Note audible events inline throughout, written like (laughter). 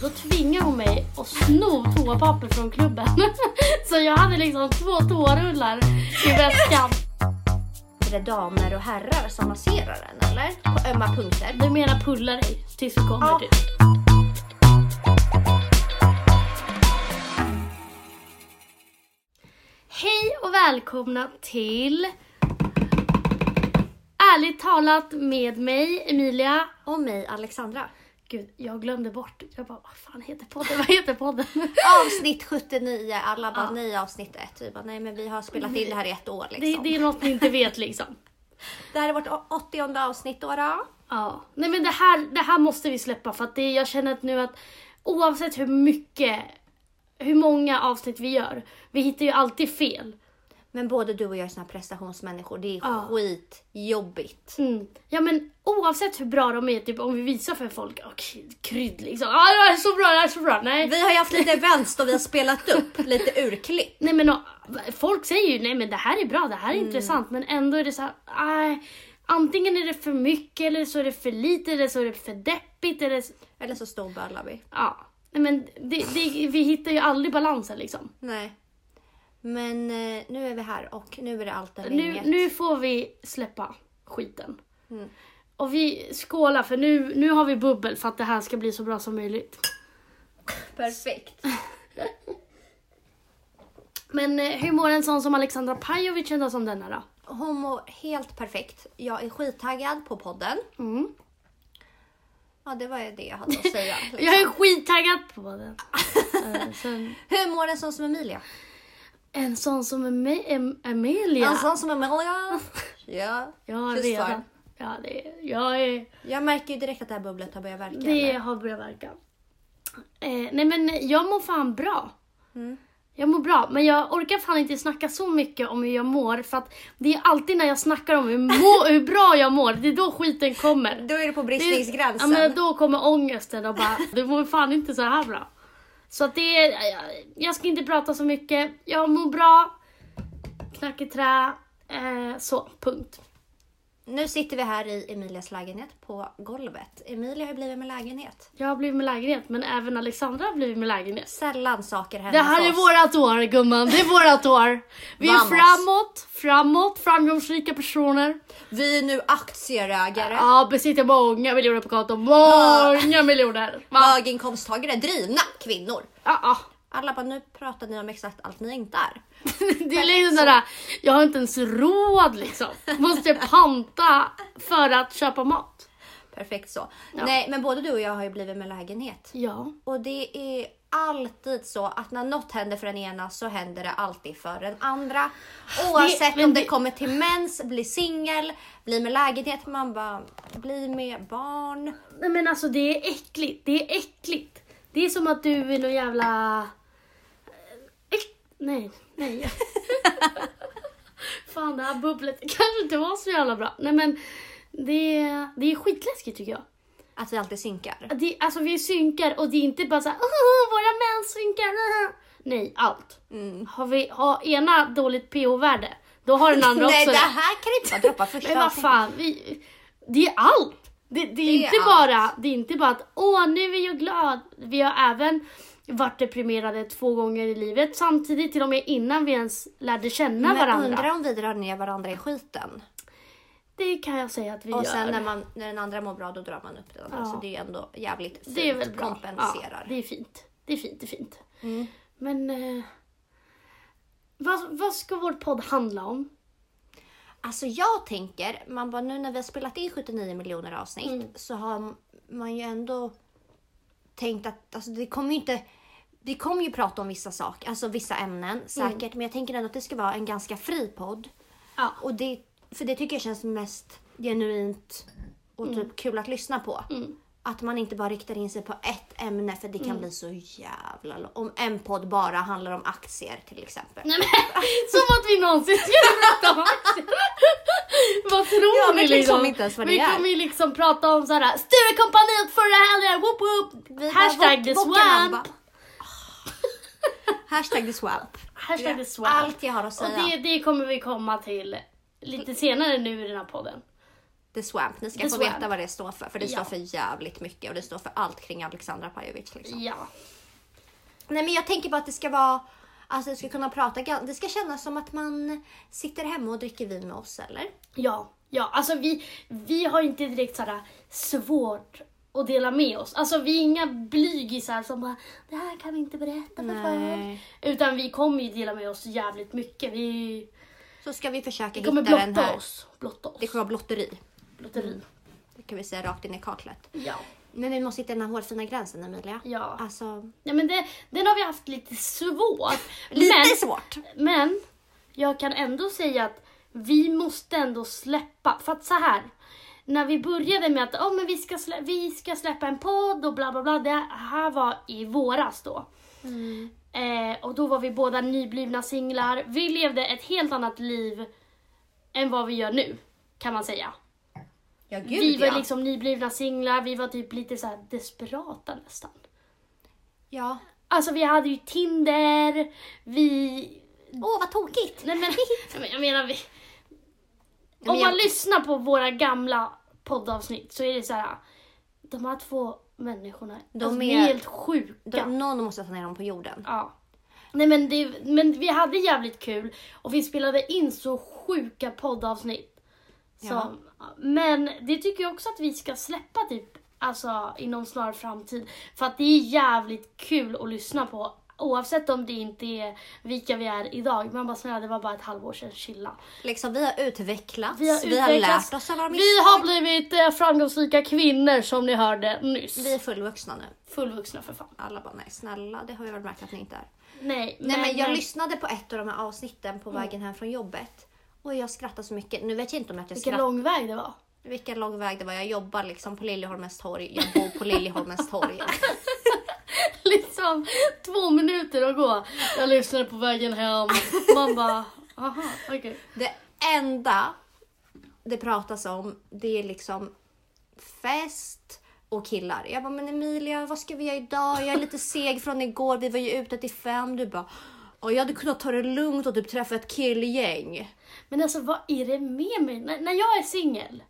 Då tvingade hon mig att sno toapapper från klubben. (laughs) Så jag hade liksom två toarullar i väskan. Är det damer och herrar som masserar den eller? På ömma punkter? Du menar pulla dig tills du kommer Ja. typ. Hej och välkomna till Ärligt talat med mig Emilia. Och mig Alexandra. Gud, jag glömde bort. Jag bara, vad fan heter podden? Vad heter podden? (laughs) Avsnitt 79, alla bara Ja. nej avsnitt 1. Vi bara nej men vi har spelat in det här i ett år Det, liksom. Det, det är något ni inte vet liksom. här är vårt å- 80 avsnitt då. då. Ja. Nej men det här, det här måste vi släppa för att det, jag känner att nu att oavsett hur mycket, hur många avsnitt vi gör, vi hittar ju alltid fel. Men både du och jag är såna här prestationsmänniskor, det är Ja. skitjobbigt. Mm. Ja men oavsett hur bra de är, typ om vi visar för folk, okej, krydd liksom. Ja det här är så bra, det här är så bra. Nej. Vi har ju haft lite events då vi har spelat upp lite urklipp. Nej men och, folk säger ju nej men det här är bra, det här är intressant men ändå är det så här, nej, antingen är det för mycket eller så är det för lite eller så är det för deppigt eller så- Eller så stor bölar vi. ja. Nej men det, det, vi hittar ju aldrig balansen liksom. Nej. Men eh, nu är vi här och nu är det allt eller Nu, inget. nu får vi släppa skiten. Mm. Och vi skålar för nu, nu har vi bubbel för att det här ska bli så bra som möjligt. Perfekt. Men eh, hur mår en sån som Alexandra Pajovic ändå som denna då? Hon mår helt perfekt. Jag är skittaggad på podden. Mm. Ja, det var ju det jag hade att säga. (laughs) Jag är skittaggad på den. Eh, sen, Hur mår en sån som Emilia? en sån som Ame- Em- Amelia. En sån som Emilia? (laughs) Ja. jag har Tyst var. redan... Ja, Alltså, det, är- jag är, Jag märker ju direkt att det här bubblet har börjat verka. det eller? har börjat verka. Eh, nej men jag mår fan bra. Mm. Jag mår bra, men jag orkar fan inte snacka så mycket om hur jag mår för att det är alltid när jag snackar om hur, (laughs) må, hur bra jag mår, det är då skiten kommer. Då är det på Det är- bristningsgränsen. Ja, men då kommer ångesten och bara, du mår fan inte så här bra. Så att det är, jag, jag ska inte prata så mycket, jag mår bra, knack i trä, eh, så, punkt. Nu sitter vi här i Emilias lägenhet på golvet. Emilia har ju blivit med lägenhet. Jag har blivit med lägenhet, men även Alexandra har blivit med lägenhet. Sällan saker Det händer här för är oss. vårat år gumman, det är vårat år. Vi är Vamos. framåt, framåt, framgångsrika personer. Vi är nu aktieägare. Ja, besitter många miljoner på kontot. Ah. Många miljoner! Va? Höginkomsttagare, drivna kvinnor. Ja, ja. (laughs) Alla bara, nu pratar ni om exakt allt ni inte är. Det är liksom sådär, jag har inte ens råd liksom. Måste panta för att köpa mat. Perfekt så. Nej, men både du och jag har ju blivit med lägenhet. Ja. Och det är alltid så att när något händer för den ena så händer det alltid för den andra. Oavsett men om det, det- kommer till mens, blir singel, blir med lägenhet, man bara blir med barn. Nej men alltså det är äckligt, det är äckligt. Det är som att du är någon jävla... eh, Äck... Nej, (laughs) nej. Fan det här bubblet kanske inte var så jävla bra. Nej men det, det är skitläskigt tycker jag. Att vi alltid synkar. Det, alltså vi synkar och det är inte bara såhär oh, våra män synkar. ah." Nej, allt. Mm. Har vi har ena dåligt pH-värde, då har den andra (laughs) Nej också det det. här kan inte vara droppa första Men vad avsnittet. fan, vi, det är allt. Det, det, är är inte allt. bara, det är inte bara att åh nu är jag glad. Vi har även varit deprimerade två gånger i livet samtidigt till och med innan vi ens lärde känna Men varandra. undrar om vi drar ner varandra i skiten. Det kan jag säga att vi Och gör. sen när, man, när den andra mår bra då drar man upp den andra. Ja. Så det är ändå jävligt fint. det är väl bra. Ja, kompenserar. det är fint. Det är fint, det är fint. Mm. Men eh, vad, vad ska vår podd handla om? Alltså jag tänker, man bara nu när vi har spelat in 79 miljoner avsnitt Mm. så har man ju ändå tänkt att alltså det kommer ju inte vi kommer ju prata om vissa saker, alltså vissa ämnen säkert, men jag tänker ändå att det ska vara en ganska fri podd. Mm. Ja. Och det, för det tycker jag känns mest genuint och typ kul att lyssna på. Mm. Att man inte bara riktar in sig på ett ämne för det kan bli så jävla långt. Om en podd bara handlar om aktier till exempel. Nej, men, som att vi någonsin skulle prata om aktier. Vad tror Jag ni vet liksom? liksom inte ens vad vi det är. kommer ju liksom prata om såhär Sturecompagniet förra helgen, woop woop! Vi bara, Hashtag the "Vok- Vokarna", swamp. bara, "Ah." (laughs) Hashtag the swamp. Hashtag the swamp. Allt jag har att Och säga. det, det kommer vi komma till lite senare nu i den här podden. The Swamp. Ni ska The få Swamp. veta vad det står för. För det Ja. står för jävligt mycket och det står för allt kring Alexandra Pajovic. Liksom. Ja. Nej men jag tänker bara att det ska vara, alltså det ska kunna prata, gan- det ska kännas som att man sitter hemma och dricker vin med oss eller? Ja, ja. Alltså vi, vi har inte direkt såhär svårt att dela med oss. Alltså vi är inga blygisar som bara det här kan vi inte berätta för folk. Nej. Utan vi kommer ju dela med oss jävligt mycket. Vi, Så ska vi försöka vi kommer hitta den blotta här. oss. Blotta oss. Det kommer vara blotteri. Blotteri. Det kan vi säga rakt in i kaklet. Ja. Men vi måste hitta den här hårfina gränsen Emilia. Ja. Alltså, ja men det, den har vi haft lite svårt. (laughs) lite men, svårt. Men jag kan ändå säga att vi måste ändå släppa. För att så här, när vi började med att oh, men vi, ska slä- vi ska släppa en podd och bla bla bla. Det här var i våras då. Mm. Eh, och då var vi båda nyblivna singlar. Vi levde ett helt annat liv än vad vi gör nu, kan man säga. Ja gud vi var ja. liksom nyblivna singlar, vi var typ lite så här desperata nästan. Ja. Alltså vi hade ju Tinder, vi Åh vad tokigt. Nej men, nej, (laughs) men jag menar vi... men Om man jag- lyssnar på våra gamla poddavsnitt så är det så här. De här två människorna, de De alltså, är- vi är helt sjuka. Då, någon måste ta ner dem på jorden. Ja. Nej men, det, men vi hade jävligt kul och vi spelade in så sjuka poddavsnitt. Som, Men det tycker jag också att vi ska släppa typ alltså, inom snar framtid. För att det är jävligt kul att lyssna på. Oavsett om det inte är vilka vi är idag. Man bara snälla det var bara ett halvår sedan, chilla. Liksom vi har utvecklats. Vi har, utvecklats. lärt oss av våra Vi har misstag. blivit eh, framgångsrika kvinnor som ni hörde nyss. Vi är fullvuxna nu. Fullvuxna för fan. Alla bara nej snälla det har vi väl märkt att ni inte är. Nej, Mm. Nej men jag lyssnade på ett av de här avsnitten på vägen hem från jobbet. Och jag skrattade så mycket. Nu vet jag inte om att jag Vilken skrattade. lång väg det var. (laughs) Vilken lång väg det var. Jag jobbar liksom på Liljeholmens torg. Jag bor på (laughs) Liljeholmens torg. liksom två minuter att gå. Jag lyssnade på vägen hem. Man bara, aha, okej. Det enda det pratas om det är liksom fest och killar. Jag bara, men Emilia vad ska vi göra idag? Jag är (laughs) lite seg från igår. Vi var ju ute till fem. Du bara, och jag hade kunnat ta det lugnt och typ träffa ett killgäng. Men alltså vad är det med mig? När, när jag är singel.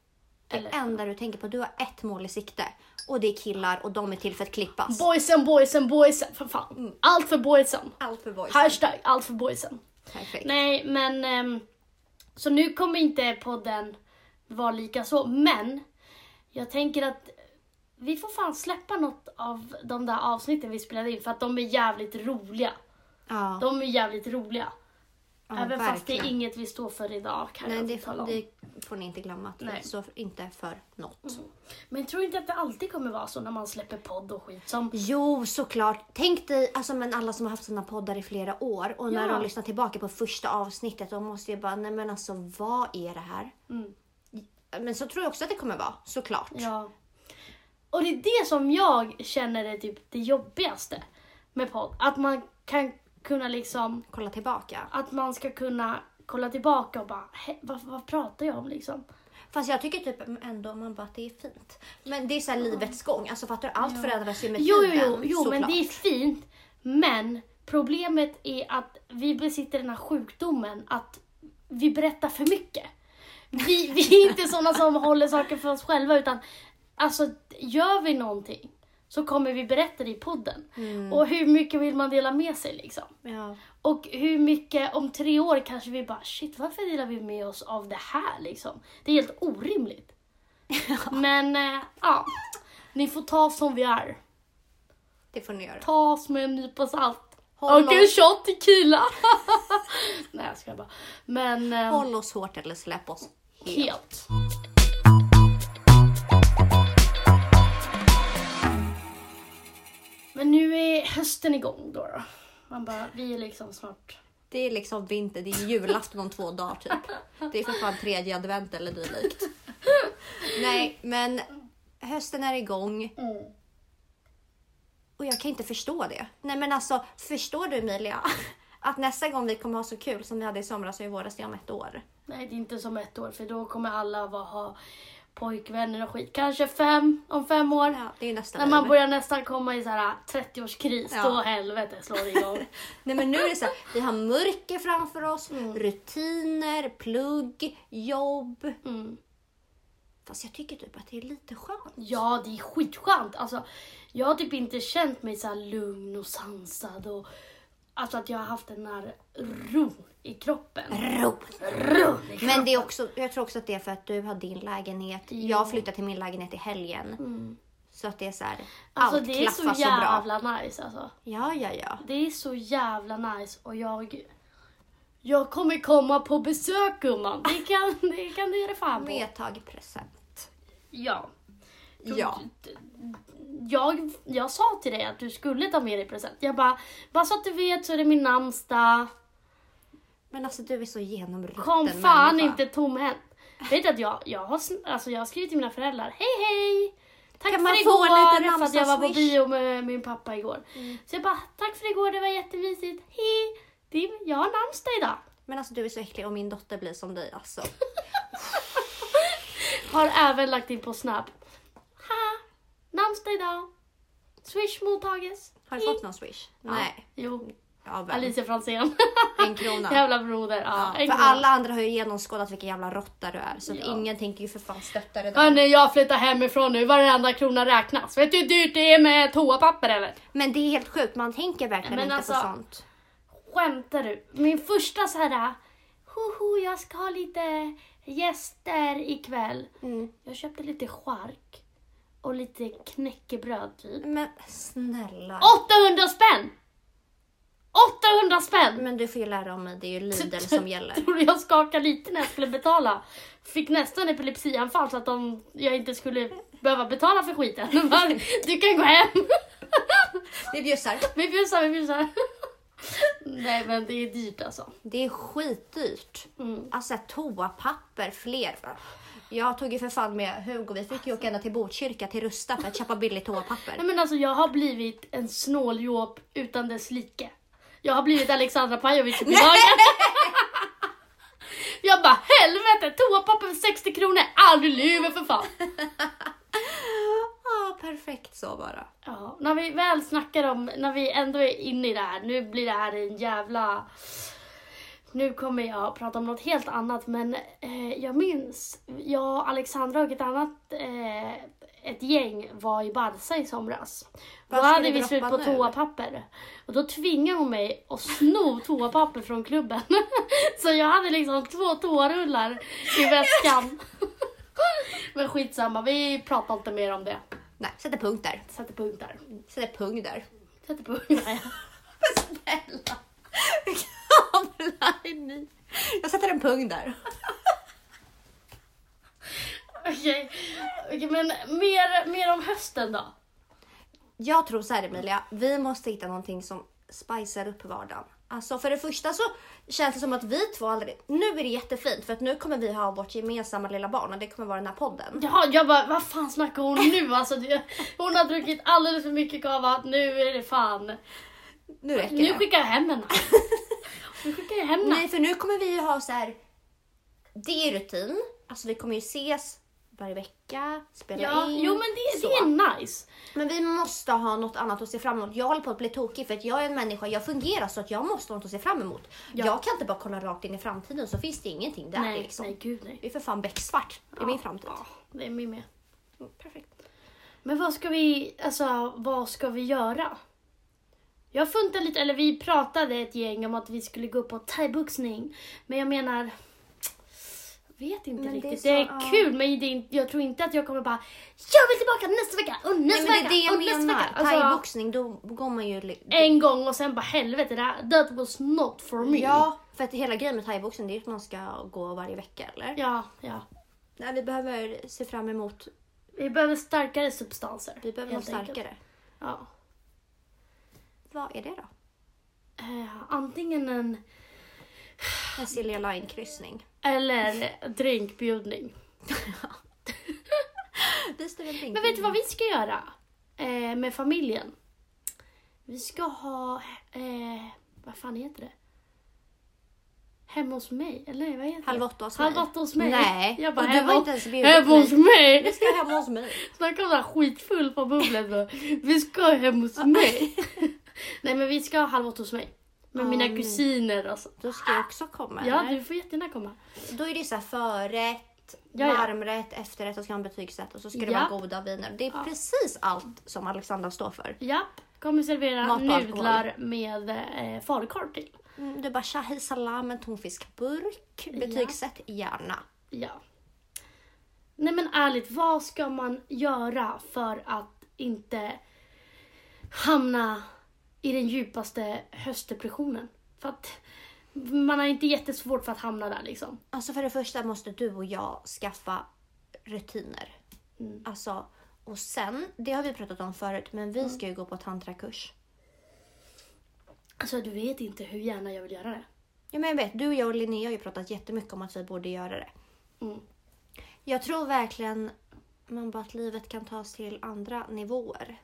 Det Eller? enda du tänker på, du har ett mål i sikte. Och det är killar och de är till för att klippas. Boysen, boysen, boysen. För fan. Allt för boysen. Allt för boys. Hashtag allt för boysen. Perfekt. Nej, men... ehm, så nu kommer inte podden vara lika så, men jag tänker att vi får fan släppa något av de där avsnitten vi spelade in för att de är jävligt roliga. Ja. De är jävligt roliga. Ja, Även fast det är verkligen. inget vi står för idag kan Nej, jag det, tala får- om. det får ni inte glömma. Att Nej. vi står inte för något. Men tror inte att det alltid kommer vara så när man släpper podd och skit som... Jo, såklart. Tänk dig alltså, men alla som har haft sina poddar i flera år och när Ja. de lyssnar tillbaka på första avsnittet de måste ju bara, nej men alltså vad är det här? Men så tror jag också att det kommer vara, såklart. Mm. Ja. Och det är det som jag känner är typ det jobbigaste med podd. Att man kan kunna liksom... Kolla tillbaka. Att man ska kunna kolla tillbaka och bara, "Hä, vad, vad pratar jag om liksom? Fast jag tycker typ ändå man bara att det är fint. Men det är så här livets gång, alltså fattar du? Allt förändras ju med Jo, jo, tiden. jo, jo men såklart. det är fint. Men problemet är att vi besitter den här sjukdomen att vi berättar för mycket. Vi, (laughs) vi är inte sådana som håller saker för oss själva utan alltså gör vi någonting så kommer vi berätta det i podden. Mm. Och hur mycket vill man dela med sig liksom? Ja. Och hur mycket, om tre år kanske vi bara shit varför delar vi med oss av det här liksom? Det är helt orimligt. (laughs) Men eh, ja, ni får ta oss som vi är. Det får ni göra. Ta oss med en nypa salt. Håll Och en oss. shot tequila. (laughs) Nej jag skojar bara. Men eh, Håll oss hårt eller släpp oss helt. helt. Men nu är hösten igång då. då. Man bara, vi är liksom snart Det är liksom vinter, det är julafton om två dagar typ. Det är för fan tredje advent eller dylikt. Nej, men hösten är igång. Och jag kan inte förstå det. Nej men alltså, förstår du Emilia? Att nästa gång vi kommer ha så kul som vi hade i somras och i våras, det är om ett år. Nej, det är inte som ett år för då kommer alla vara, ha pojkvänner och skit. Kanske fem, om fem år. Ja, det är ju nästa När liv. man börjar nästan komma i så här 30-årskris, Ja. då helvete slår det (laughs) igång. Nej men nu är det så här, vi har mörker framför oss, rutiner, plugg, jobb. Mm. Fast jag tycker typ att det är lite skönt. Ja, det är skitskönt. Alltså, jag har typ inte känt mig så här lugn och sansad och alltså att jag har haft den här ro i kroppen. Ro! Ro! i kroppen. Men det är också, jag tror också att det är för att du har din lägenhet. Jag flyttade till min lägenhet i helgen. Så att det är så här, Mm. Alltså allt det är så klaffar så bra. jävla nice alltså. Ja, ja, ja. Det är så jävla nice och jag... Jag kommer komma på besök gumman. Det kan, det kan du ge dig fan på. Medtag present. Ja. Ja. Jag, jag sa till dig att du skulle ta med dig present. Jag bara, bara så att du vet så är det min namnsdag. Men alltså du är så genomrutten Kom fan människa. inte tomhänt. Vet du att jag, jag, har, sn- alltså jag har skrivit till mina föräldrar, hej hej! Tack Kan för man få igår, lite för att jag var på namnsdags-wish? bio Mm. med min pappa igår. Så jag bara, tack för igår, det var jättemysigt, hej! Det är, jag har namnsdag idag. Men alltså du är så äcklig och min dotter blir som dig alltså. Har även lagt in på Snap. Ha! Namnsdag idag. Swish mottages. Har du fått (laughs) någon swish? Nej. Jo, Ja, väl. Alicia Franzén. (laughs) En krona. Jävla broder. Ja, en För krona. alla andra har ju genomskådat vilken jävla råtta du är. Så att Ja. ingen tänker ju för fan stötta det där. Hörni, jag flyttar hemifrån nu. Varenda krona räknas. Vet du hur dyrt det är med toapapper eller? Men det är helt sjukt, man tänker verkligen Men inte på alltså- sånt. Skämtar du? Min första så här... Hoho, jag ska ha lite gäster ikväll. Mm. Jag köpte lite chark och lite knäckebröd typ. Men snälla. 800 spänn! 800 spänn! Men du får ju lära om mig, det är ju Lidl som (laughs) gäller. Tror du jag skakade lite när jag skulle betala? Fick nästan epilepsianfall så att de, jag inte skulle behöva betala för skiten. (laughs) De bara, Du kan gå hem! Vi bjussar. Vi bjussar, vi bjussar. Nej men det är dyrt alltså. Det är skitdyrt. Mm. Alltså toapapper, fler. Jag tog ju för fan med Hugo, vi fick ju åka ända till Botkyrka till Rusta för att köpa billigt Nej toapapper. men alltså jag har blivit en snåljåp utan dess like. Jag har blivit Alexandra Pajovic i dagen. Jag bara helvete, toapapper för 60 kronor, aldrig luven för fan. Ja, perfekt så bara. Ja, när vi väl snackar om, när vi ändå är inne i det här, nu blir det här en jävla... Nu kommer jag att prata om något helt annat men eh, jag minns, jag, Alexandra och ett annat, eh, ett gäng var i Barca i somras. Vad då ska hade du vi slut droppa på nu? toapapper. Och då tvingade hon mig att sno (laughs) toapapper från klubben. (laughs) Så jag hade liksom två toarullar i väskan. (laughs) Men skitsamma, vi pratar inte mer om det. Nej, sätter punkt där. Sätter punkt där. Sätter punkt där. (laughs) Sätter på ungarna. Snälla! Vilka (laughs) jävla är ni? Jag sätter en punkt där. Okej, Okej, men mer, mer om hösten då? Jag tror så här Emilia, vi måste hitta någonting som spicar upp vardagen. Alltså för det första så känns det som att vi två aldrig... Nu är det jättefint för att nu kommer vi ha vårt gemensamma lilla barn och det kommer vara den här podden. Ja, jag bara, vad fan snackar hon nu? Alltså, det, hon har druckit alldeles för mycket kava, nu är det fan. Nu räcker Nu det. skickar jag hem henne. Nu skickar jag hem henne. Nej för nu kommer vi ju ha så här... Det är rutin. Alltså vi kommer ju ses varje vecka, spela Ja, in. jo men det, det så. är nice. Men vi måste ha något annat att se fram emot. Jag håller på att bli tokig för att jag är en människa, jag fungerar så att jag måste ha något att se fram emot. Ja. Jag kan inte bara kolla rakt in i framtiden så finns det ingenting där. nej, liksom. nej gud nej. Det är för fan becksvart i min framtid. Mm, Ja, det är min med. Perfekt. Men vad ska vi, alltså vad ska vi göra? Jag funtar lite, eller vi pratade ett gäng om att vi skulle gå upp på thaiboxning. Men jag menar, jag vet inte Men det är riktigt. så- Det är, ja. kul men det är, inte- jag tror inte att jag kommer bara Jag vill tillbaka nästa vecka och Nej, nästa men det vecka är det jag och nästa menar. vecka. Alltså, Thaiboxning, då går man ju... li- en gång och sen bara helvete, det här, that was not for me. Ja, för att hela grejen med thaiboxning det är att man ska gå varje vecka eller? ja, ja. Nej, vi behöver se fram emot, Vi behöver starkare substanser. vi behöver något helt enkelt. starkare. Ja. Vad är det då? Eh, antingen en, En Silja Line-kryssning. eller drinkbjudning. Vi står en drink. Men vet du vad vi ska göra eh, med familjen? Vi ska ha, eh, vad fan heter det? Hemma hos mig, eller nej, vad heter Halv det? åtta hos Halv mig. åtta hos mig. Nej, (laughs) jag bara, och du var hemma, inte ens bjuden hemma hos Vi mig. ska hemma hos mig. (laughs) Snacka om så här skitfull på bubblet. bara, Vi ska hem (laughs) hos mig. (laughs) nej men vi ska ha halv åtta hos mig. Med Ja, mina men- kusiner alltså. Då ska jag också komma. Ja, eller? du får jättegärna komma. Då är det så här förrätt, Ja, ja. varmrätt, efterrätt och så ska man betygssätta och så ska det Ja. vara goda viner. Det är precis allt som Alexandra står för. Japp, kommer servera Mat och alkohol. nudlar med eh, falukorv till. Mm, Du bara tja, hej salam, en tonfiskburk. Betygsätt gärna. Ja. Nej men ärligt, vad ska man göra för att inte hamna i den djupaste höstdepressionen? För att man har inte jättesvårt för att hamna där liksom. Alltså för det första måste du och jag skaffa rutiner. Mm. Alltså, och sen, det har vi pratat om förut, men Mm. vi ska ju gå på tantrakurs. Alltså du vet inte hur gärna jag vill göra det. Ja, men jag vet, du och jag och Linnea har ju pratat jättemycket om att vi borde göra det. Mm. Jag tror verkligen man bara att livet kan tas till andra nivåer.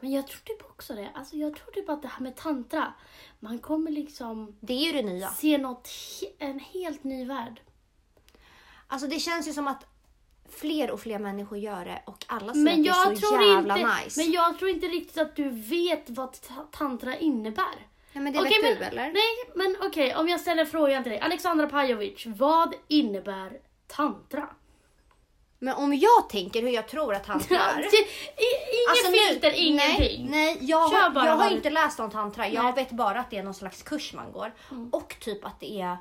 Men jag tror typ också det. Alltså jag tror typ att det här med tantra, man kommer liksom Det är ju det nya. se något, he- en helt ny värld. Alltså det känns ju som att fler och fler människor gör det och alla säger Men att det är jag, så tror jävla inte, nice. men jag tror inte riktigt att du vet vad ta- tantra innebär. Nej, men det Okej, vet men- du eller? Nej, men okej, om jag ställer frågan till dig. Alexandra Pajovic, vad innebär tantra? Men om jag tänker hur jag tror (laughs) att han är. I, inget filter, ingenting. Alltså, Nej, nej jag, Kör har, bara jag har vad ju du- inte läst om tantra. Jag Nej. Mm. vet bara att det är någon slags kurs man går. Och typ att det är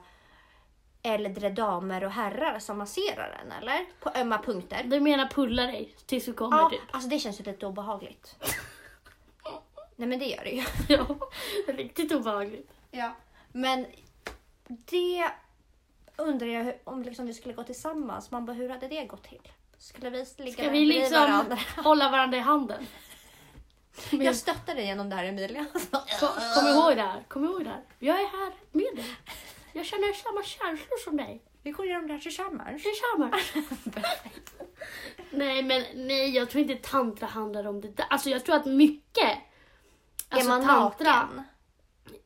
äldre damer och herrar som masserar en, eller? På ömma punkter. Du menar pulla dig tills du kommer Ja, typ? (laughs) alltså det känns ju lite obehagligt. nej men det gör det ju. Ja, riktigt obehagligt. Ja. Men det undrar jag hur, om liksom vi skulle gå tillsammans. Man bara, hur hade det gått till? Skulle vi ligga Ska där vi bredvid liksom (laughs) varandra? hålla varandra i handen? Jag stöttar dig genom det (laughs) här Emilia. Kom, kom ihåg det här, kom ihåg det här. Jag är här med dig. Jag känner samma känslor som dig. Vi går igenom det här tillsammans. Tillsammans. (laughs) nej, men nej, jag tror inte tantra handlar om det där. Alltså jag tror att mycket... alltså, är man naken?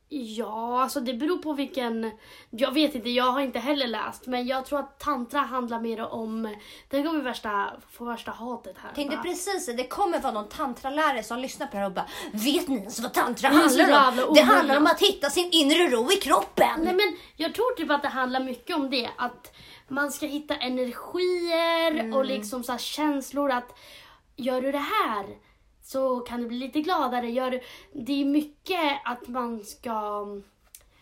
Ja, alltså det beror på vilken... Jag vet inte, jag har inte heller läst. Men jag tror att tantra handlar mer om... Tänk om vi värsta, får värsta hatet här. Tänkte bara. precis det kommer vara någon tantralärare som lyssnar på det här och bara Vet ni ens vad tantra är så handlar jävla om? Det handlar omogna." om att hitta sin inre ro i kroppen. Nej men jag tror typ att det handlar mycket om det. Att man ska hitta energier och liksom så här känslor att gör du det här så kan du bli lite gladare. Gör du... Det är mycket att man ska...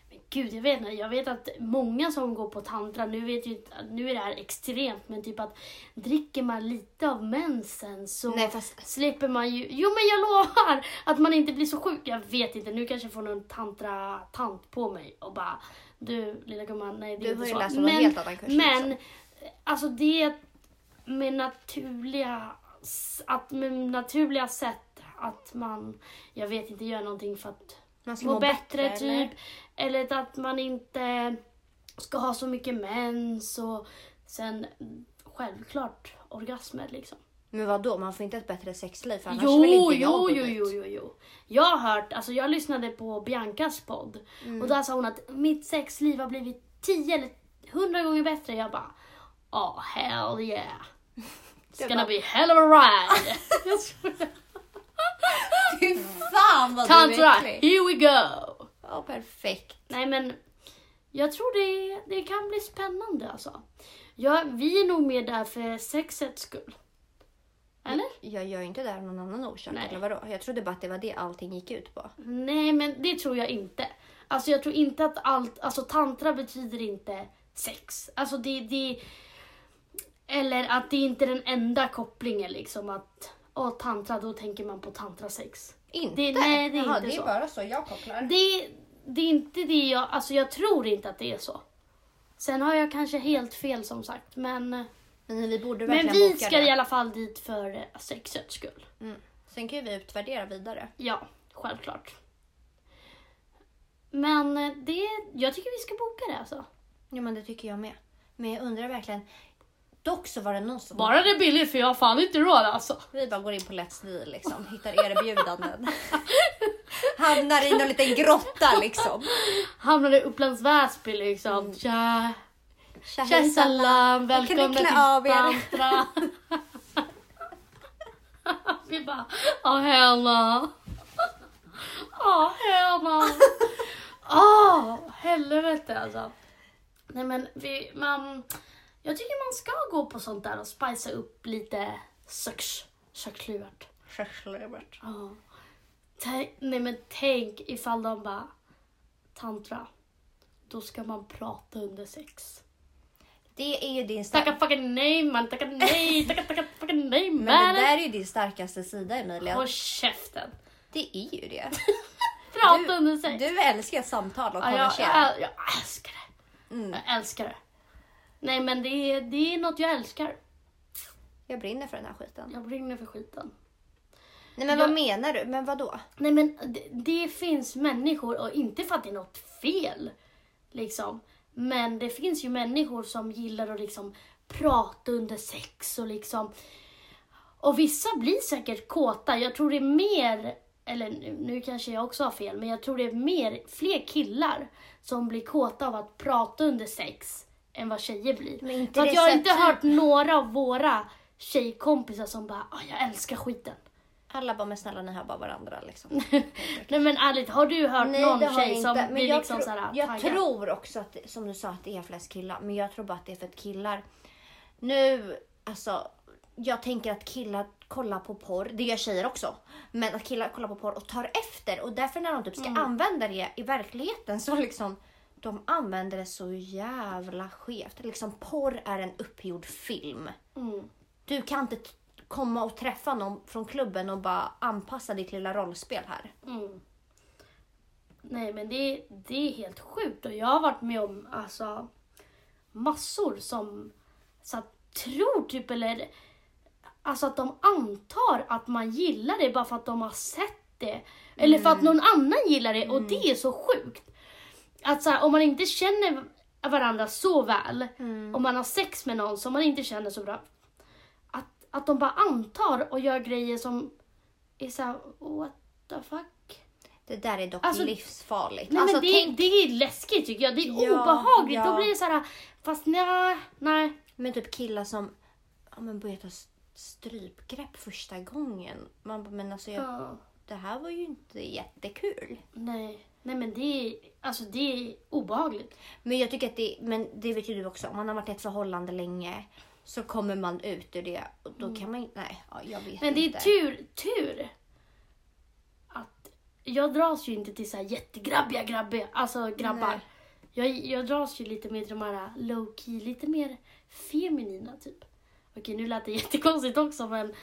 Men Gud, jag vet inte. Jag vet att många som går på tantra, nu vet ju inte, nu är det här extremt, men typ att dricker man lite av mensen så Nej, fast- slipper man ju... Jo men jag lovar att man inte blir så sjuk. Jag vet inte, nu kanske jag får någon tantra-tant på mig och bara du lilla gumman, nej det Du är inte har ju så. läst om någon helt annan kurs, Men liksom. alltså det med naturliga, s- att med naturliga sätt att man, jag vet inte, gör någonting för att Man ska må, må bättre, bättre, eller? typ. Eller att man inte ska ha så mycket mens och sen självklart orgasmer liksom. Men vad då? man får inte ett bättre sexliv för annars vill Jo, inte jag jo, gå jo, dit. jo, jo, jo. Jag har hört, alltså jag lyssnade på Biancas podd Mm. och där sa hon att mitt sexliv har blivit 10 eller 100 gånger bättre. Jag bara, oh hell yeah. (laughs) It's Jag gonna bara- be hell of a (laughs) ride. Jag skojar. (laughs) Fy fan vad Tantra, du är äcklig. here we go. Ja, perfekt. Nej men, jag tror det, det kan bli spännande alltså. Ja, vi är nog mer där för sexets skull. Eller? Jag gör ju inte det av någon annan orsak. Nej. Eller vadå? Jag trodde bara att det var det allting gick ut på. Nej, men det tror jag inte. Alltså jag tror inte att allt, alltså tantra betyder inte sex. Alltså det, det eller att det inte är den enda kopplingen liksom att, åh tantra, då tänker man på tantrasex. Inte? Det- nej, det är inte det är så. bara så jag kopplar. Det, det är inte det jag, alltså jag tror inte att det är så. Sen har jag kanske helt fel som sagt, men, Men vi borde men verkligen vi boka ska det. i alla fall dit för sexets skull. Mm. Sen kan ju vi utvärdera vidare. Ja, självklart. Men eh, det, jag tycker vi ska boka det alltså. Ja, men det tycker jag med. Men jag undrar verkligen. Dock så var det någon som... Bara det är billigt för jag har fan inte råd alltså. Vi bara går in på Let's Deal liksom, hittar (laughs) erbjudanden. Hamnar i någon liten grotta liksom. Hamnade i Upplands Väsby liksom. Tja, Tja, tja Mm. hejsan. salam, välkomna klä till av er? Tantra. (laughs) Vi bara, åh Helena. Åh Helena. Åh, helvete alltså. Nej men vi, man, Jag tycker man ska gå på sånt där och spicea upp lite söks, söksluvert. Schacklövert. Ja. Tänk- Nej men tänk ifall de bara tantra. Då ska man prata under sex. Det är ju din starka... Tacka fucking nej man, tacka (laughs) nej, tacka tacka fucking nej man. Men det där är ju din starkaste sida Emilia. Håll käften. Det är ju det. Prata Du- under sex. Du älskar samtal och Ja, jag, konversera. jag, jag älskar det. Mm. Jag älskar det. Nej men det är, det är något jag älskar. Jag brinner för den här skiten. Jag brinner för skiten. Nej men Jag- vad menar du? Men vad då? Nej men det, det finns människor, och inte för att det är något fel, liksom. Men det finns ju människor som gillar att liksom prata under sex och liksom... Och vissa blir säkert kåta. Jag tror det är mer, eller nu, nu kanske jag också har fel, men jag tror det är mer, fler killar som blir kåta av att prata under sex än vad tjejer blir. Men inte För att det jag har så inte typ- hört några av våra tjejkompisar som bara "Ah, jag älskar skiten. Alla bara, men snälla ni hör bara varandra (laughs) liksom. Nej men ärligt, har du hört någon det har jag tjej som inte, men blir jag liksom tror- såhär Jag taggad? tror också att, det- som du sa, att det är flest killar. Men jag tror bara att det är för att killar... Nu, alltså. Jag tänker att killar kollar på porr, det gör tjejer också. Men att killar kollar på porr och tar efter. Och därför när de typ ska Mm. använda det i verkligheten så liksom... De använder det så jävla skevt. Liksom porr är en uppgjord film. Mm. Du kan inte t- komma och träffa någon från klubben och bara anpassa ditt lilla rollspel här. Mm. Nej men det, det är helt sjukt och jag har varit med om alltså massor som så att, tror typ eller alltså att de antar att man gillar det bara för att de har sett det. Eller för att någon annan gillar det och det är så sjukt. Att så här, om man inte känner varandra så väl, om man har sex med någon som man inte känner så bra, att, att de bara antar och gör grejer som är såhär what the fuck. Det där är dock Alltså- livsfarligt. Nej, alltså, men det, tänk, det är läskigt tycker jag. Det är Ja, obehagligt. ja. Då blir det så här, fast nej, nej. men typ killar som ja, men börjar ta s- strypgrepp första gången. Man bara, men alltså jag, Ja, det här var ju inte jättekul. nej. Nej men det är, alltså det är obehagligt. Men jag tycker att det, men det vet ju du också, om man har varit i ett förhållande länge så kommer man ut ur det och då kan man ju- nej, ja, jag vet Mm. Men det är typ- inte. tur, tur att jag dras ju inte till så här jättegrabbiga grabbiga, alltså grabbar. Nej. Jag, jag dras ju lite mer till de här low key, lite mer feminina typ. Okej nu lät det (laughs) jättekonstigt också men,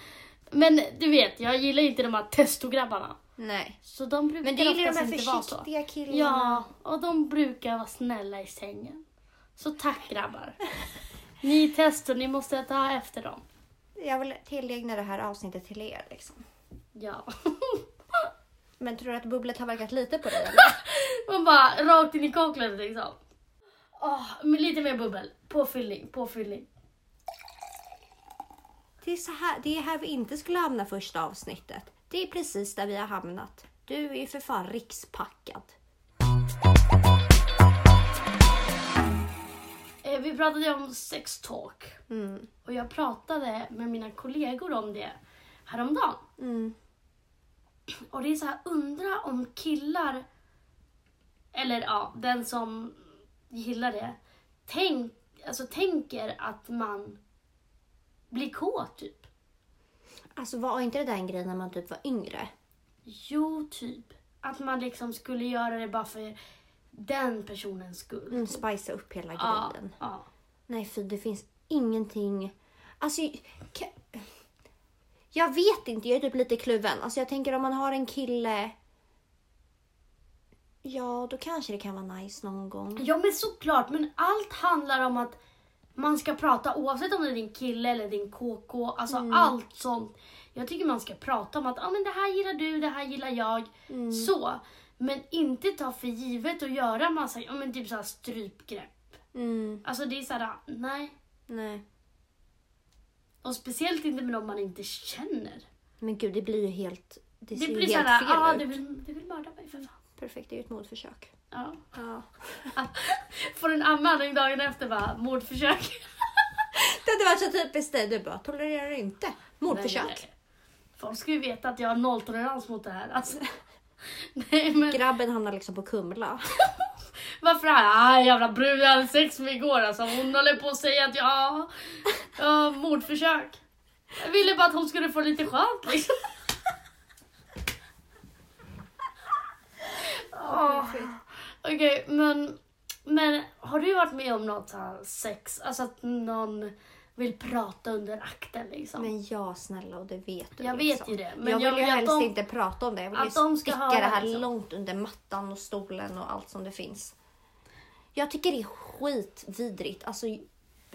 men du vet jag gillar ju inte de här testograbbarna. Nej. Så de brukar Men det är ju de oftast här inte vara så. försiktiga killarna. Ja, och de brukar vara snälla i sängen. Så tack (laughs) grabbar. Ni är tester, ni måste ta efter dem. Jag vill tillägna det här avsnittet till er liksom. (laughs) Ja. Men tror du att bubblet har verkat lite på dig? eller? Man bara rakt in i kaklet liksom. Åh, men lite mer bubbel. Påfyllning, påfyllning. Det är, så här, det är här vi inte skulle hamna första avsnittet. Det är precis där vi har hamnat. Du är ju för fan rikspackad. Eh, vi pratade ju om sex talk. Mm. Och jag pratade med mina kollegor om det häromdagen. Mm. Och det är så här, undra om killar, eller ja, den som gillar det, tänk, alltså, tänker att man blir kåt typ. Alltså var inte det där en grej när man typ var yngre? Jo, typ. Att man liksom skulle göra det bara för den personens skull. Mm, spicea upp hela Ja, grejen. ja. Nej fy, det finns ingenting. Alltså... ka- Jag vet inte, jag är typ lite kluven. Alltså jag tänker om man har en kille... Ja, då kanske det kan vara nice någon gång. ja, men såklart. Men allt handlar om att man ska prata oavsett om det är din kille eller din KK. Alltså Mm. allt sånt. Jag tycker man ska prata om att ah, men det här gillar du, det här gillar jag. Mm. Så. Men inte ta för givet och göra massa ja, men typ så här strypgrepp. Mm, Alltså det är såhär, nej. nej. Och speciellt inte med dem man inte känner. Men gud, det blir ju helt... Det Det ser blir ju helt såhär, fel ah, ut. du, vill, du vill mörda mig för fan. Perfekt, det är ju ett mordförsök. Ja. Ja. Får en anmälning dagen efter bara, mordförsök. Det hade varit så typiskt dig. Du bara tolererar inte Nej, mordförsök. nej. Folk ska ju veta att jag har nolltolerans mot det här. Alltså. (laughs) Nej, men, Grabben hamnar liksom på Kumla. Varför han? Ah, jävla brud jag hade sex med igår alltså. Hon håller på att säga att jag har mordförsök. Jag ville bara att hon skulle få lite skönt liksom. Åh. Okej, men, men har du varit med om något så här sex? Alltså att någon vill prata under akten liksom? Men ja, snälla, och det vet du. Jag liksom. vet ju det, men jag vill jag ju vill att helst de- inte prata om det. Jag vill att ju de ska sticka höra, det här liksom. långt under mattan och stolen och allt som det finns. Jag tycker det är skitvidrigt. Alltså,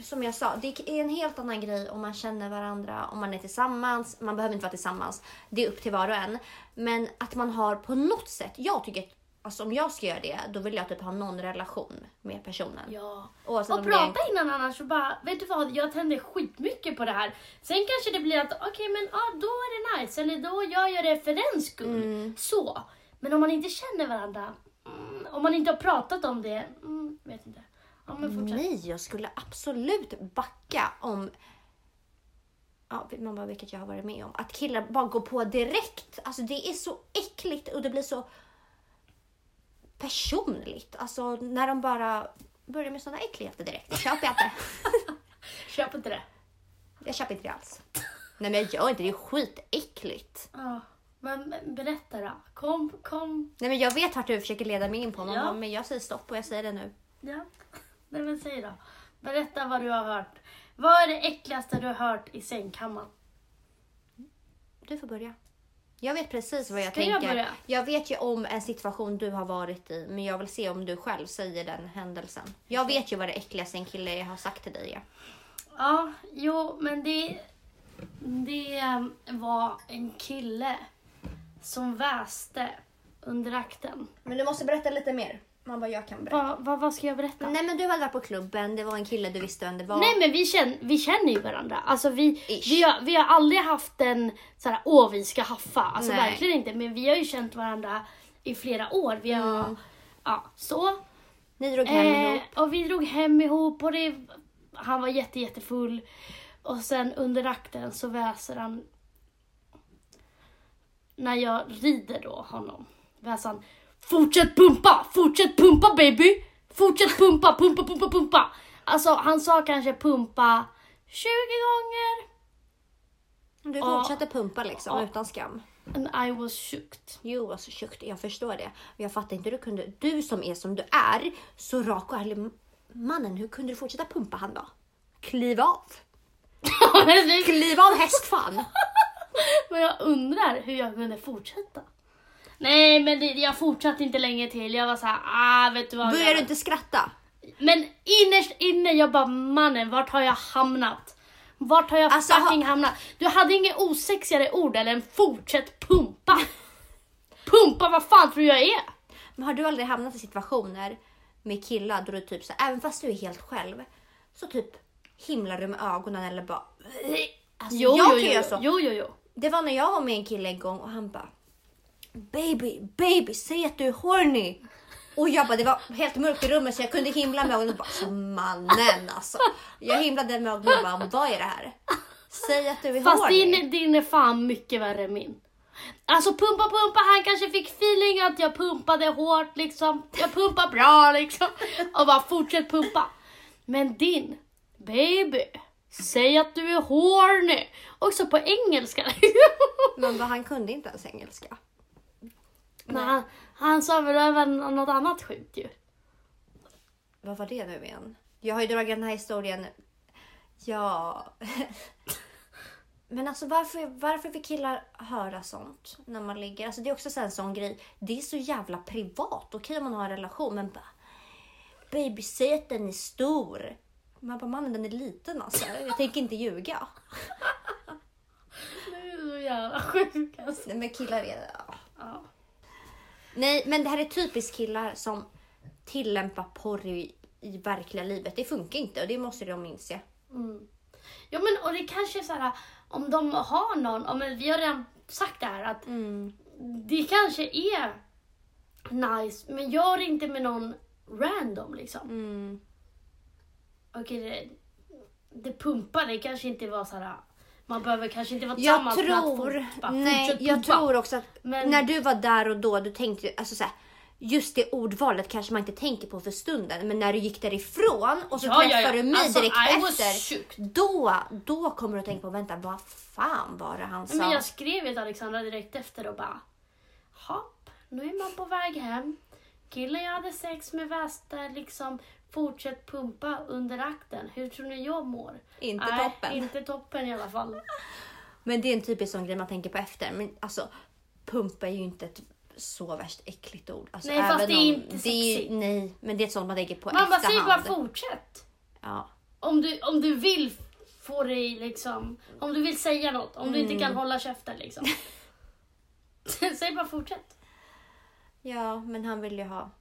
som jag sa, det är en helt annan grej om man känner varandra, om man är tillsammans. Man behöver inte vara tillsammans. Det är upp till var och en. Men att man har på något sätt, jag tycker att alltså, om jag ska göra det, då vill jag typ ha någon relation med personen. Ja. Oavsett Och om det är en prata innan annars och bara, vet du vad, jag tänder skitmycket på det här. Sen kanske det blir att, okej men ja, då är det nice, eller då gör jag det för den skull. Så. Men om man inte känner varandra, mm, om man inte har pratat om det, mm, vet inte. Ja men fortsätt. Nej, jag skulle absolut backa om Ja, man bara, vilket jag har varit med om. Att killar bara går på direkt. Alltså det är så äckligt och det blir så personligt. Alltså när de bara börjar med sådana äckligheter direkt. Det köper jag inte. Köp inte det. Jag köper inte det alls. Nej men jag gör inte det, det är skitäckligt. Ja. Men men berätta då. Kom, kom. Nej men jag vet vart du försöker leda mig in på men, Ja. men jag säger stopp och jag säger det nu. Ja. Nej men säg då. Berätta vad du har hört. Vad är det äckligaste du har hört i sängkammaren? Du får börja. Jag vet precis vad jag Ska jag tänker. börja? jag vet ju om en situation du har varit i, men jag vill se om du själv säger den händelsen. Jag vet ju vad det äckligaste en kille har sagt till dig är. Ja, jo, men det, det ehm, var en kille som väste under akten. Men du måste berätta lite mer. Man bara, jag kan berätta. Va, va, vad ska jag berätta? Nej men du hade varit på klubben, det var en kille du visste vem det var. Nej men vi känner, vi känner ju varandra. Alltså vi, Ish. vi, har, vi har aldrig haft en så här, åh vi ska haffa. Alltså Nej. verkligen inte. Men vi har ju känt varandra i flera år. Vi har, Mm. ja, så. Ni drog hem Eh, ihop. och vi drog hem ihop och det, han var jätte, jättefull. Och sen under akten så väser han, när jag rider då honom, väser han Fortsätt pumpa, fortsätt pumpa baby! Fortsätt pumpa, pumpa, pumpa, pumpa! Alltså han sa kanske pumpa 20 gånger. Du ja. fortsatte pumpa liksom, Ja. utan skam. And I was shocked. Jo, alltså tjukt, jag förstår det. Men jag fattar inte hur du kunde, du som är som du är, så rak och ärlig mannen, hur kunde du fortsätta pumpa han då? Kliv av! Kliv av hästfan! (laughs) Men jag undrar hur jag kunde fortsätta. Nej men det, jag fortsatte inte länge till. Jag var så här, ah vet du vad. Börjar jag- du inte skratta? Men innerst inne jag bara mannen vart har jag hamnat? Vart har jag Alltså, fucking hamnat? Du hade inget osexigare ord eller en fortsätt pumpa. pumpa vad fan tror jag är? Men har du aldrig hamnat i situationer med killar då du typ så här, även fast du är helt själv, så typ himlar du med ögonen eller bara... Alltså, Jo, jag jo, kan jo, göra så. jo, jo, jo. Det var när jag var med en kille en gång och han bara Baby, baby, säg att du är horny. Och jag bara, det var helt mörkt i rummet så jag kunde himla med ögonen och bara, alltså mannen alltså. Jag himlade med ögonen och bara, vad är det här? Säg att du är Fast horny. din, din är fan mycket värre än min. Alltså pumpa, pumpa, han kanske fick feeling att jag pumpade hårt liksom. Jag pumpar bra liksom. Och bara fortsätt pumpa. Men din, baby, säg att du är horny. Också på engelska (laughs) liksom. Men bara, han kunde inte ens engelska. Men han, han sa väl även något annat sjukt ju. Vad var det nu igen? Jag har ju dragit den här historien. (laughs) Ja. Men alltså varför, varför vill killar höra sånt när man ligger? Alltså det är också så här en sån grej. Det är så jävla privat. Okej om man har en relation men bara. Baby säg att den är stor. Man bara mannen den är liten alltså. Jag tänker inte ljuga. Du är så jävla sjuk alltså. Nej men killar är... ja. Ja. Nej men det här är typiskt killar som tillämpar porr i, i verkliga livet. Det funkar inte och det måste de inse. Mm. Ja men och det kanske är så här om de har någon, ja, men vi har redan sagt det här att Mm. det kanske är nice men gör inte med någon random liksom. Mm. Okej det, det pumpar, det kanske inte var så här man behöver kanske inte vara Jag tillsammans med att tror, fort- bara nej, fortsätt jag pumpa. tror också att Men- när du var där och då, du tänkte ju- alltså så här, just det ordvalet kanske man inte tänker på för stunden, men när du gick därifrån och så Ja, ja, träffar ja. du mig Alltså, direkt I was efter. shook. Då, då kommer du att tänka på, vänta, vad fan var det han sa? Men jag skrev ju till Alexandra direkt efter och bara Hopp, nu är man på väg hem. Killen jag hade sex med väste liksom fortsätt pumpa under akten. Hur tror ni jag mår? Inte Nej, toppen. Inte toppen i alla (laughs) fall. Men det är en typisk sån grej man tänker på efter. Men alltså, pumpa är ju inte ett så värst äckligt ord. Alltså, Nej, fast även det är om- inte det är ju- sexigt. Nej, men det är ett sånt man tänker på Man bara säger efterhand. bara fortsätt. ja. Om du, om du vill få dig liksom, om du vill säga något, om du inte Mm. kan hålla käften liksom. (laughs) Säg bara fortsätt. ja, men han vill ju ha...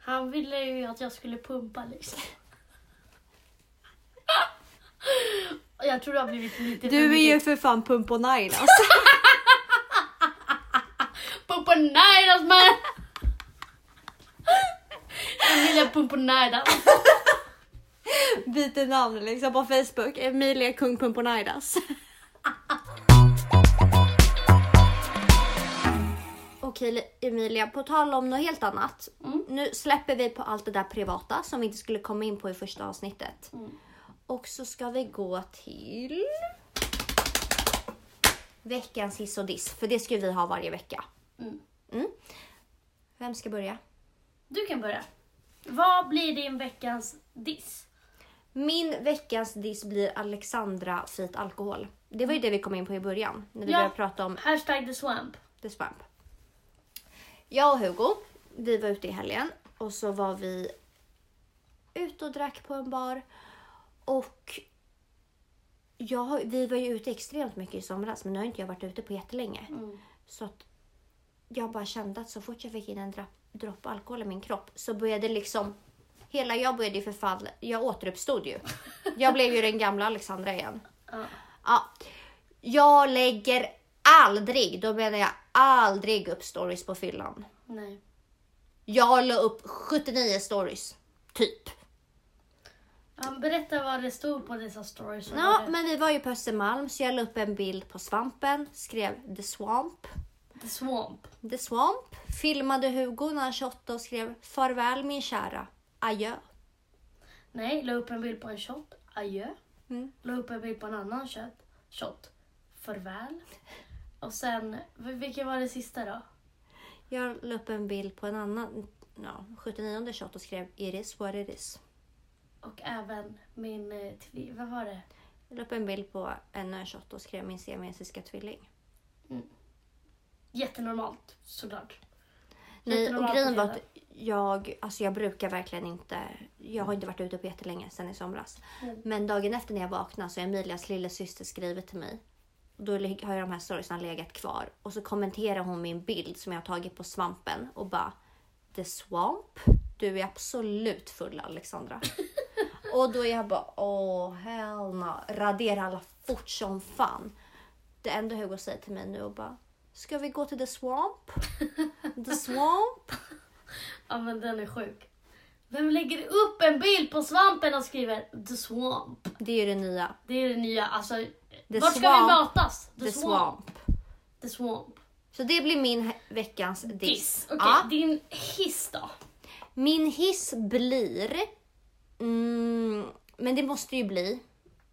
Han ville ju att jag skulle pumpa liksom. Och Jag tror det har blivit lite för mycket. för fan pump och nine (laughs) Pumponaidas man! Emilia Pumponaidas. Byter namn liksom på Facebook. Emilia Kung Pumponaidas. (laughs) Okej Emilia, på tal om något helt annat. Nu släpper vi på allt det där privata som vi inte skulle komma in på i första avsnittet. Och så ska vi gå till veckans hiss och diss. För det ska vi ha varje vecka. Mm. Mm. Vem ska börja? Du kan börja. Vad blir din veckans diss? Min veckans diss blir Alexandra Fit Alkohol. Det var ju det vi kom in på i början när vi Ja. började prata om Hashtag the swamp. The Swamp. Jag och Hugo, vi var ute i helgen och så var vi ute och drack på en bar. Och jag, har- vi var ju ute extremt mycket i somras men nu har inte jag varit ute på jättelänge. Mm. Så att jag bara kände att så fort jag fick in en drapp, droppe alkohol i min kropp så började liksom hela jag började ju förfall. Jag återuppstod ju. Jag blev ju den gamla Alexandra igen. Ja. Ja. Jag lägger aldrig, då menar jag aldrig upp stories på fyllan. Nej. Jag la upp 79 stories. Typ. Ja, berätta vad det stod på dessa stories. Ja, men vi var ju på Östermalm så jag la upp en bild på svampen, skrev the swamp. The swamp. The Swamp filmade Hugo när han 28 och skrev “Farväl min kära, adjö”. Nej, la upp en bild på en shot. Adjö. Mm. La upp en bild på en annan shot. Shot. Farväl. Och sen, vil- vilken var det sista då? Jag la upp en bild på en annan, ja, 79 shot och skrev “Iris what it is”. Och även min, eh, tvi- vad var det? Jag la upp en bild på en shot och skrev “Min siamesiska tvilling”. Jättenormalt såklart. Nej, och Jättenormalt grejen var att beteende. jag, alltså jag brukar verkligen inte, jag har inte varit ute på jättelänge sedan i somras. Mm. Men dagen efter när jag vaknade så har Emilias lilla syster skrivit till mig. Och Då lig- har ju de här storiesna legat kvar och så kommenterar hon min bild som jag har tagit på svampen och bara The Swamp? Du är absolut full Alexandra. och då är jag bara åh hell no. Radera alla fort som fan. Det enda Hugo säger till mig nu och bara Ska vi gå till The Swamp? The Swamp? Ja men den är sjuk. Vem lägger upp en bild på svampen och skriver the swamp? Det är ju det nya. Det är det nya, alltså. The vart ska vi swamp. mötas? The, swamp. The swamp. Så det blir min he- veckans diss. Diss. Okej, Ja. din hiss då? Min hiss blir... Mm, men det måste ju bli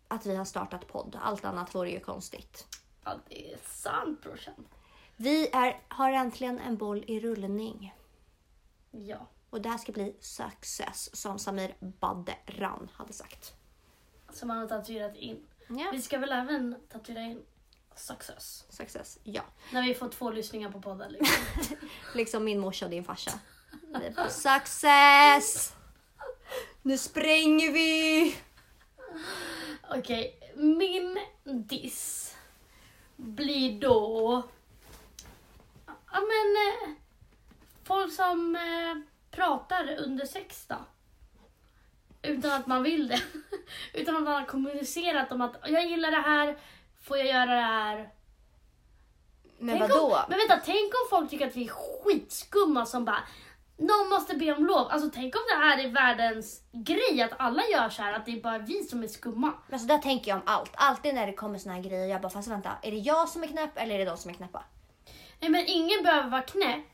att vi har startat podd. Allt annat vore ju konstigt. Ja, det är sant brorsan. Vi är, har äntligen en boll i rullning. Ja. Och det här ska bli success, som Samir Badran hade sagt. Som han har tatuerat in. Ja, Vi ska väl även tatuera in success. success. Ja. När vi får två lyssningar på podden liksom. Liksom min morsa och din farsa. Vi är på Success! Nu spränger vi! Okej, min diss blir då... Ja men... eh, Folk som eh, pratar under sex då. Utan att man vill det. (laughs) Utan att man har kommunicerat om att jag gillar det här, får jag göra det här? Men Tänk vadå? Om, men vänta, tänk om folk tycker att vi är skitskumma som bara någon måste be om lov. Alltså tänk om det här är världens grej att alla gör så här, att det är bara vi som är skumma. Men så där tänker jag om allt. Alltid när det kommer såna här grejer. Jag bara, fast vänta. Är det jag som är knäpp eller är det de som är knäppa? Nej men ingen behöver vara knäpp.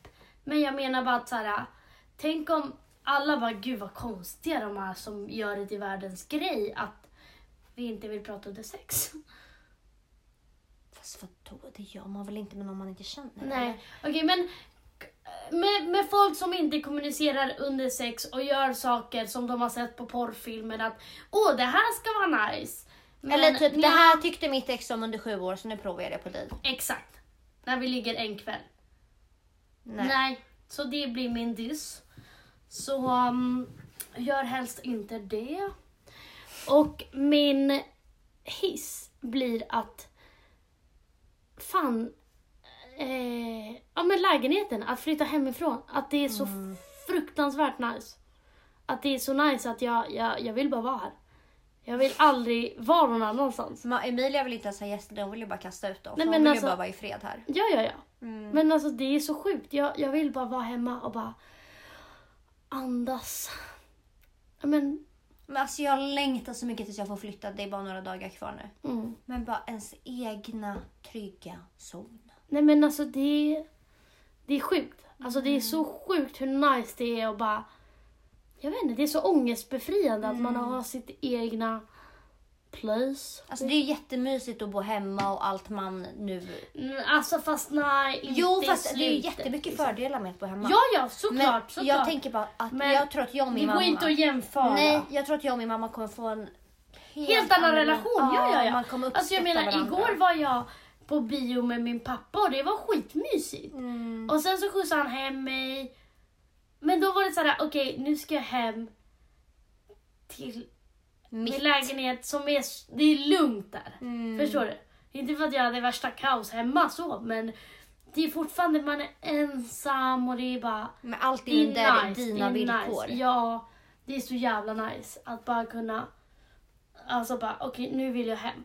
Men jag menar bara att så här, tänk om alla bara, gud vad konstiga de är som gör det till världens grej att vi inte vill prata under sex. Fast vadå, det gör man väl inte med någon man inte känner? Nej, okej men med, med folk som inte kommunicerar under sex och gör saker som de har sett på porrfilmer att åh det här ska vara nice. Men- Eller typ, det nej, här tyckte mitt ex om under sju år så nu provar jag det på dig. Exakt. När vi ligger en kväll. Nej. Nej. Så det blir min diss. Så um, gör helst inte det. Och min hiss blir att fan, eh, ja men lägenheten, att flytta hemifrån, att det är så fruktansvärt nice. Att det är så nice att jag, jag, jag vill bara vara här. Jag vill aldrig vara någon annanstans. Ma- Emilia vill inte ens ha gäster, hon vill ju bara kasta ut dem. Nej, Nej, men hon vill alltså- ju bara vara i fred här. Ja, ja, ja. Mm. Men alltså det är så sjukt. Jag, jag vill bara vara hemma och bara andas. Ja, Men, Men alltså jag längtar så mycket tills jag får flytta, det är bara några dagar kvar nu. mm. Men bara ens egna trygga zon. Nej men alltså det, det är sjukt. Alltså det är Mm. så sjukt hur nice det är och bara... Jag vet inte, det är så ångestbefriande att Mm. man har sitt egna place. Alltså det är ju jättemysigt att bo hemma och allt man nu... Mm, Alltså fast nej, inte Jo i fast det är ju slutet, jättemycket liksom. fördelar med att bo hemma. Ja, ja, såklart. Men såklart. jag tänker bara att Men jag tror att jag och det min går mamma... inte att jämföra. Nej, jag tror att jag och min mamma kommer få en helt, helt annan relation. Ja, ja, ja. Man kommer uppskatta alltså jag menar, varandra. igår var jag på bio med min pappa och det var skitmysigt. Mm. Och sen så skjutsade han hem mig. Men då var det såhär, okej nu ska jag hem till min Mitt. lägenhet som är, s- det är lugnt där. Mm. Förstår du? Inte för att jag hade värsta kaos hemma så, men det är fortfarande, man är ensam och det är bara Men allt är det är under nice, dina det är villkor. Nice. Ja, det är så jävla nice att bara kunna... Alltså bara, okej nu vill jag hem.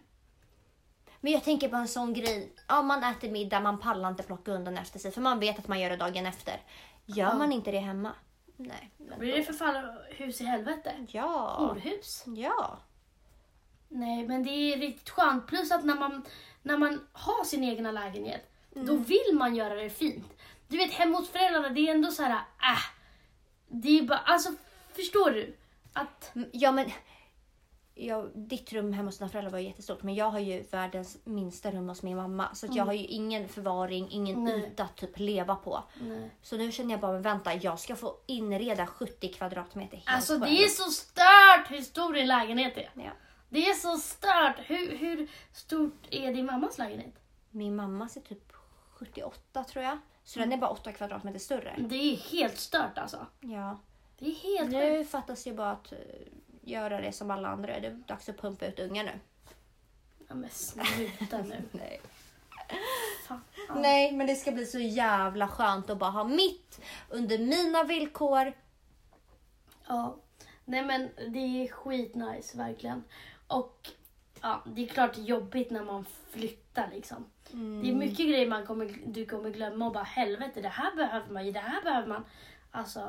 Men jag tänker på en sån grej. Ja, man äter middag, man pallar inte plocka undan efter sig för man vet att man gör det dagen efter. Gör man inte det hemma? Nej. Då Men blir det för fan hus i helvete. Ja. Horhus. Ja. Nej, men det är riktigt skönt. Plus att när man, när man har sin egna lägenhet, då vill man göra det fint. Du vet, hemma hos föräldrarna, det är ändå så här, äh. Det är bara, alltså förstår du? Att... Mm, Ja, men... Ja, ditt rum hemma hos dina föräldrar var ju jättestort men jag har ju världens minsta rum hos min mamma så att jag har ju ingen förvaring, ingen Mm. Nej. yta att typ leva på. Nej. Så nu känner jag bara, men vänta, jag ska få inreda 70 kvadratmeter helt Alltså själv. det är så stört hur stor din lägenhet är. Ja. Det är så stört. Hur, hur stort är din mammas lägenhet? Min mamma ser typ 78 tror jag. Så Mm. den är bara 8 kvadratmeter större. Det är helt stört alltså. Ja. Det är Mm. helt sjukt. Nu fattas ju bara att eh, göra det som alla andra. Det är dags att pumpa ut ungar nu. Ja, men sluta (laughs) nu. Nej. Fan. Nej, men det ska bli så jävla skönt att bara ha mitt under mina villkor. Ja. Nej men det är skitnice verkligen. Och ja, det är klart jobbigt när man flyttar liksom. Det är Mm. mycket grejer man kommer, du kommer glömma och bara helvete det här behöver man ju, det här behöver man. Alltså,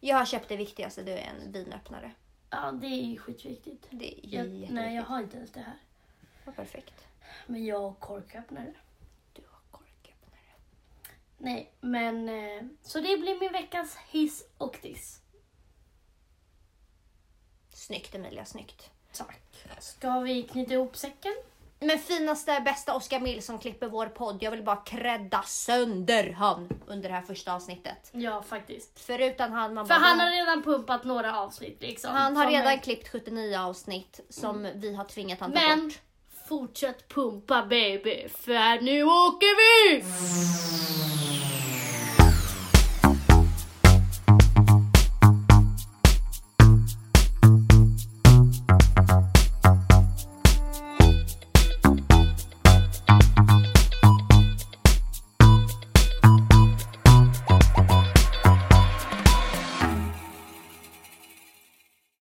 Mm. Jag har köpt det viktigaste, du är en vinöppnare. ja det är ju skitviktigt. Det är Jag, jätteviktigt. nej jag har inte ens det här. Vad Perfekt. Men jag har korköppnare. Du har korköppnare. Nej men eh, så det blir min veckans hiss och diss. Snyggt Emilia, snyggt. Tack. Ska vi knyta ihop säcken? Men finaste, bästa Oskar Mill som klipper vår podd. Jag vill bara credda sönder han under det här första avsnittet. Ja, faktiskt. För utan han, man För bara, han har redan pumpat några avsnitt liksom. han har Som redan är- klippt 79 avsnitt som vi har tvingat han ta Men bort. fortsätt pumpa baby, för nu åker vi!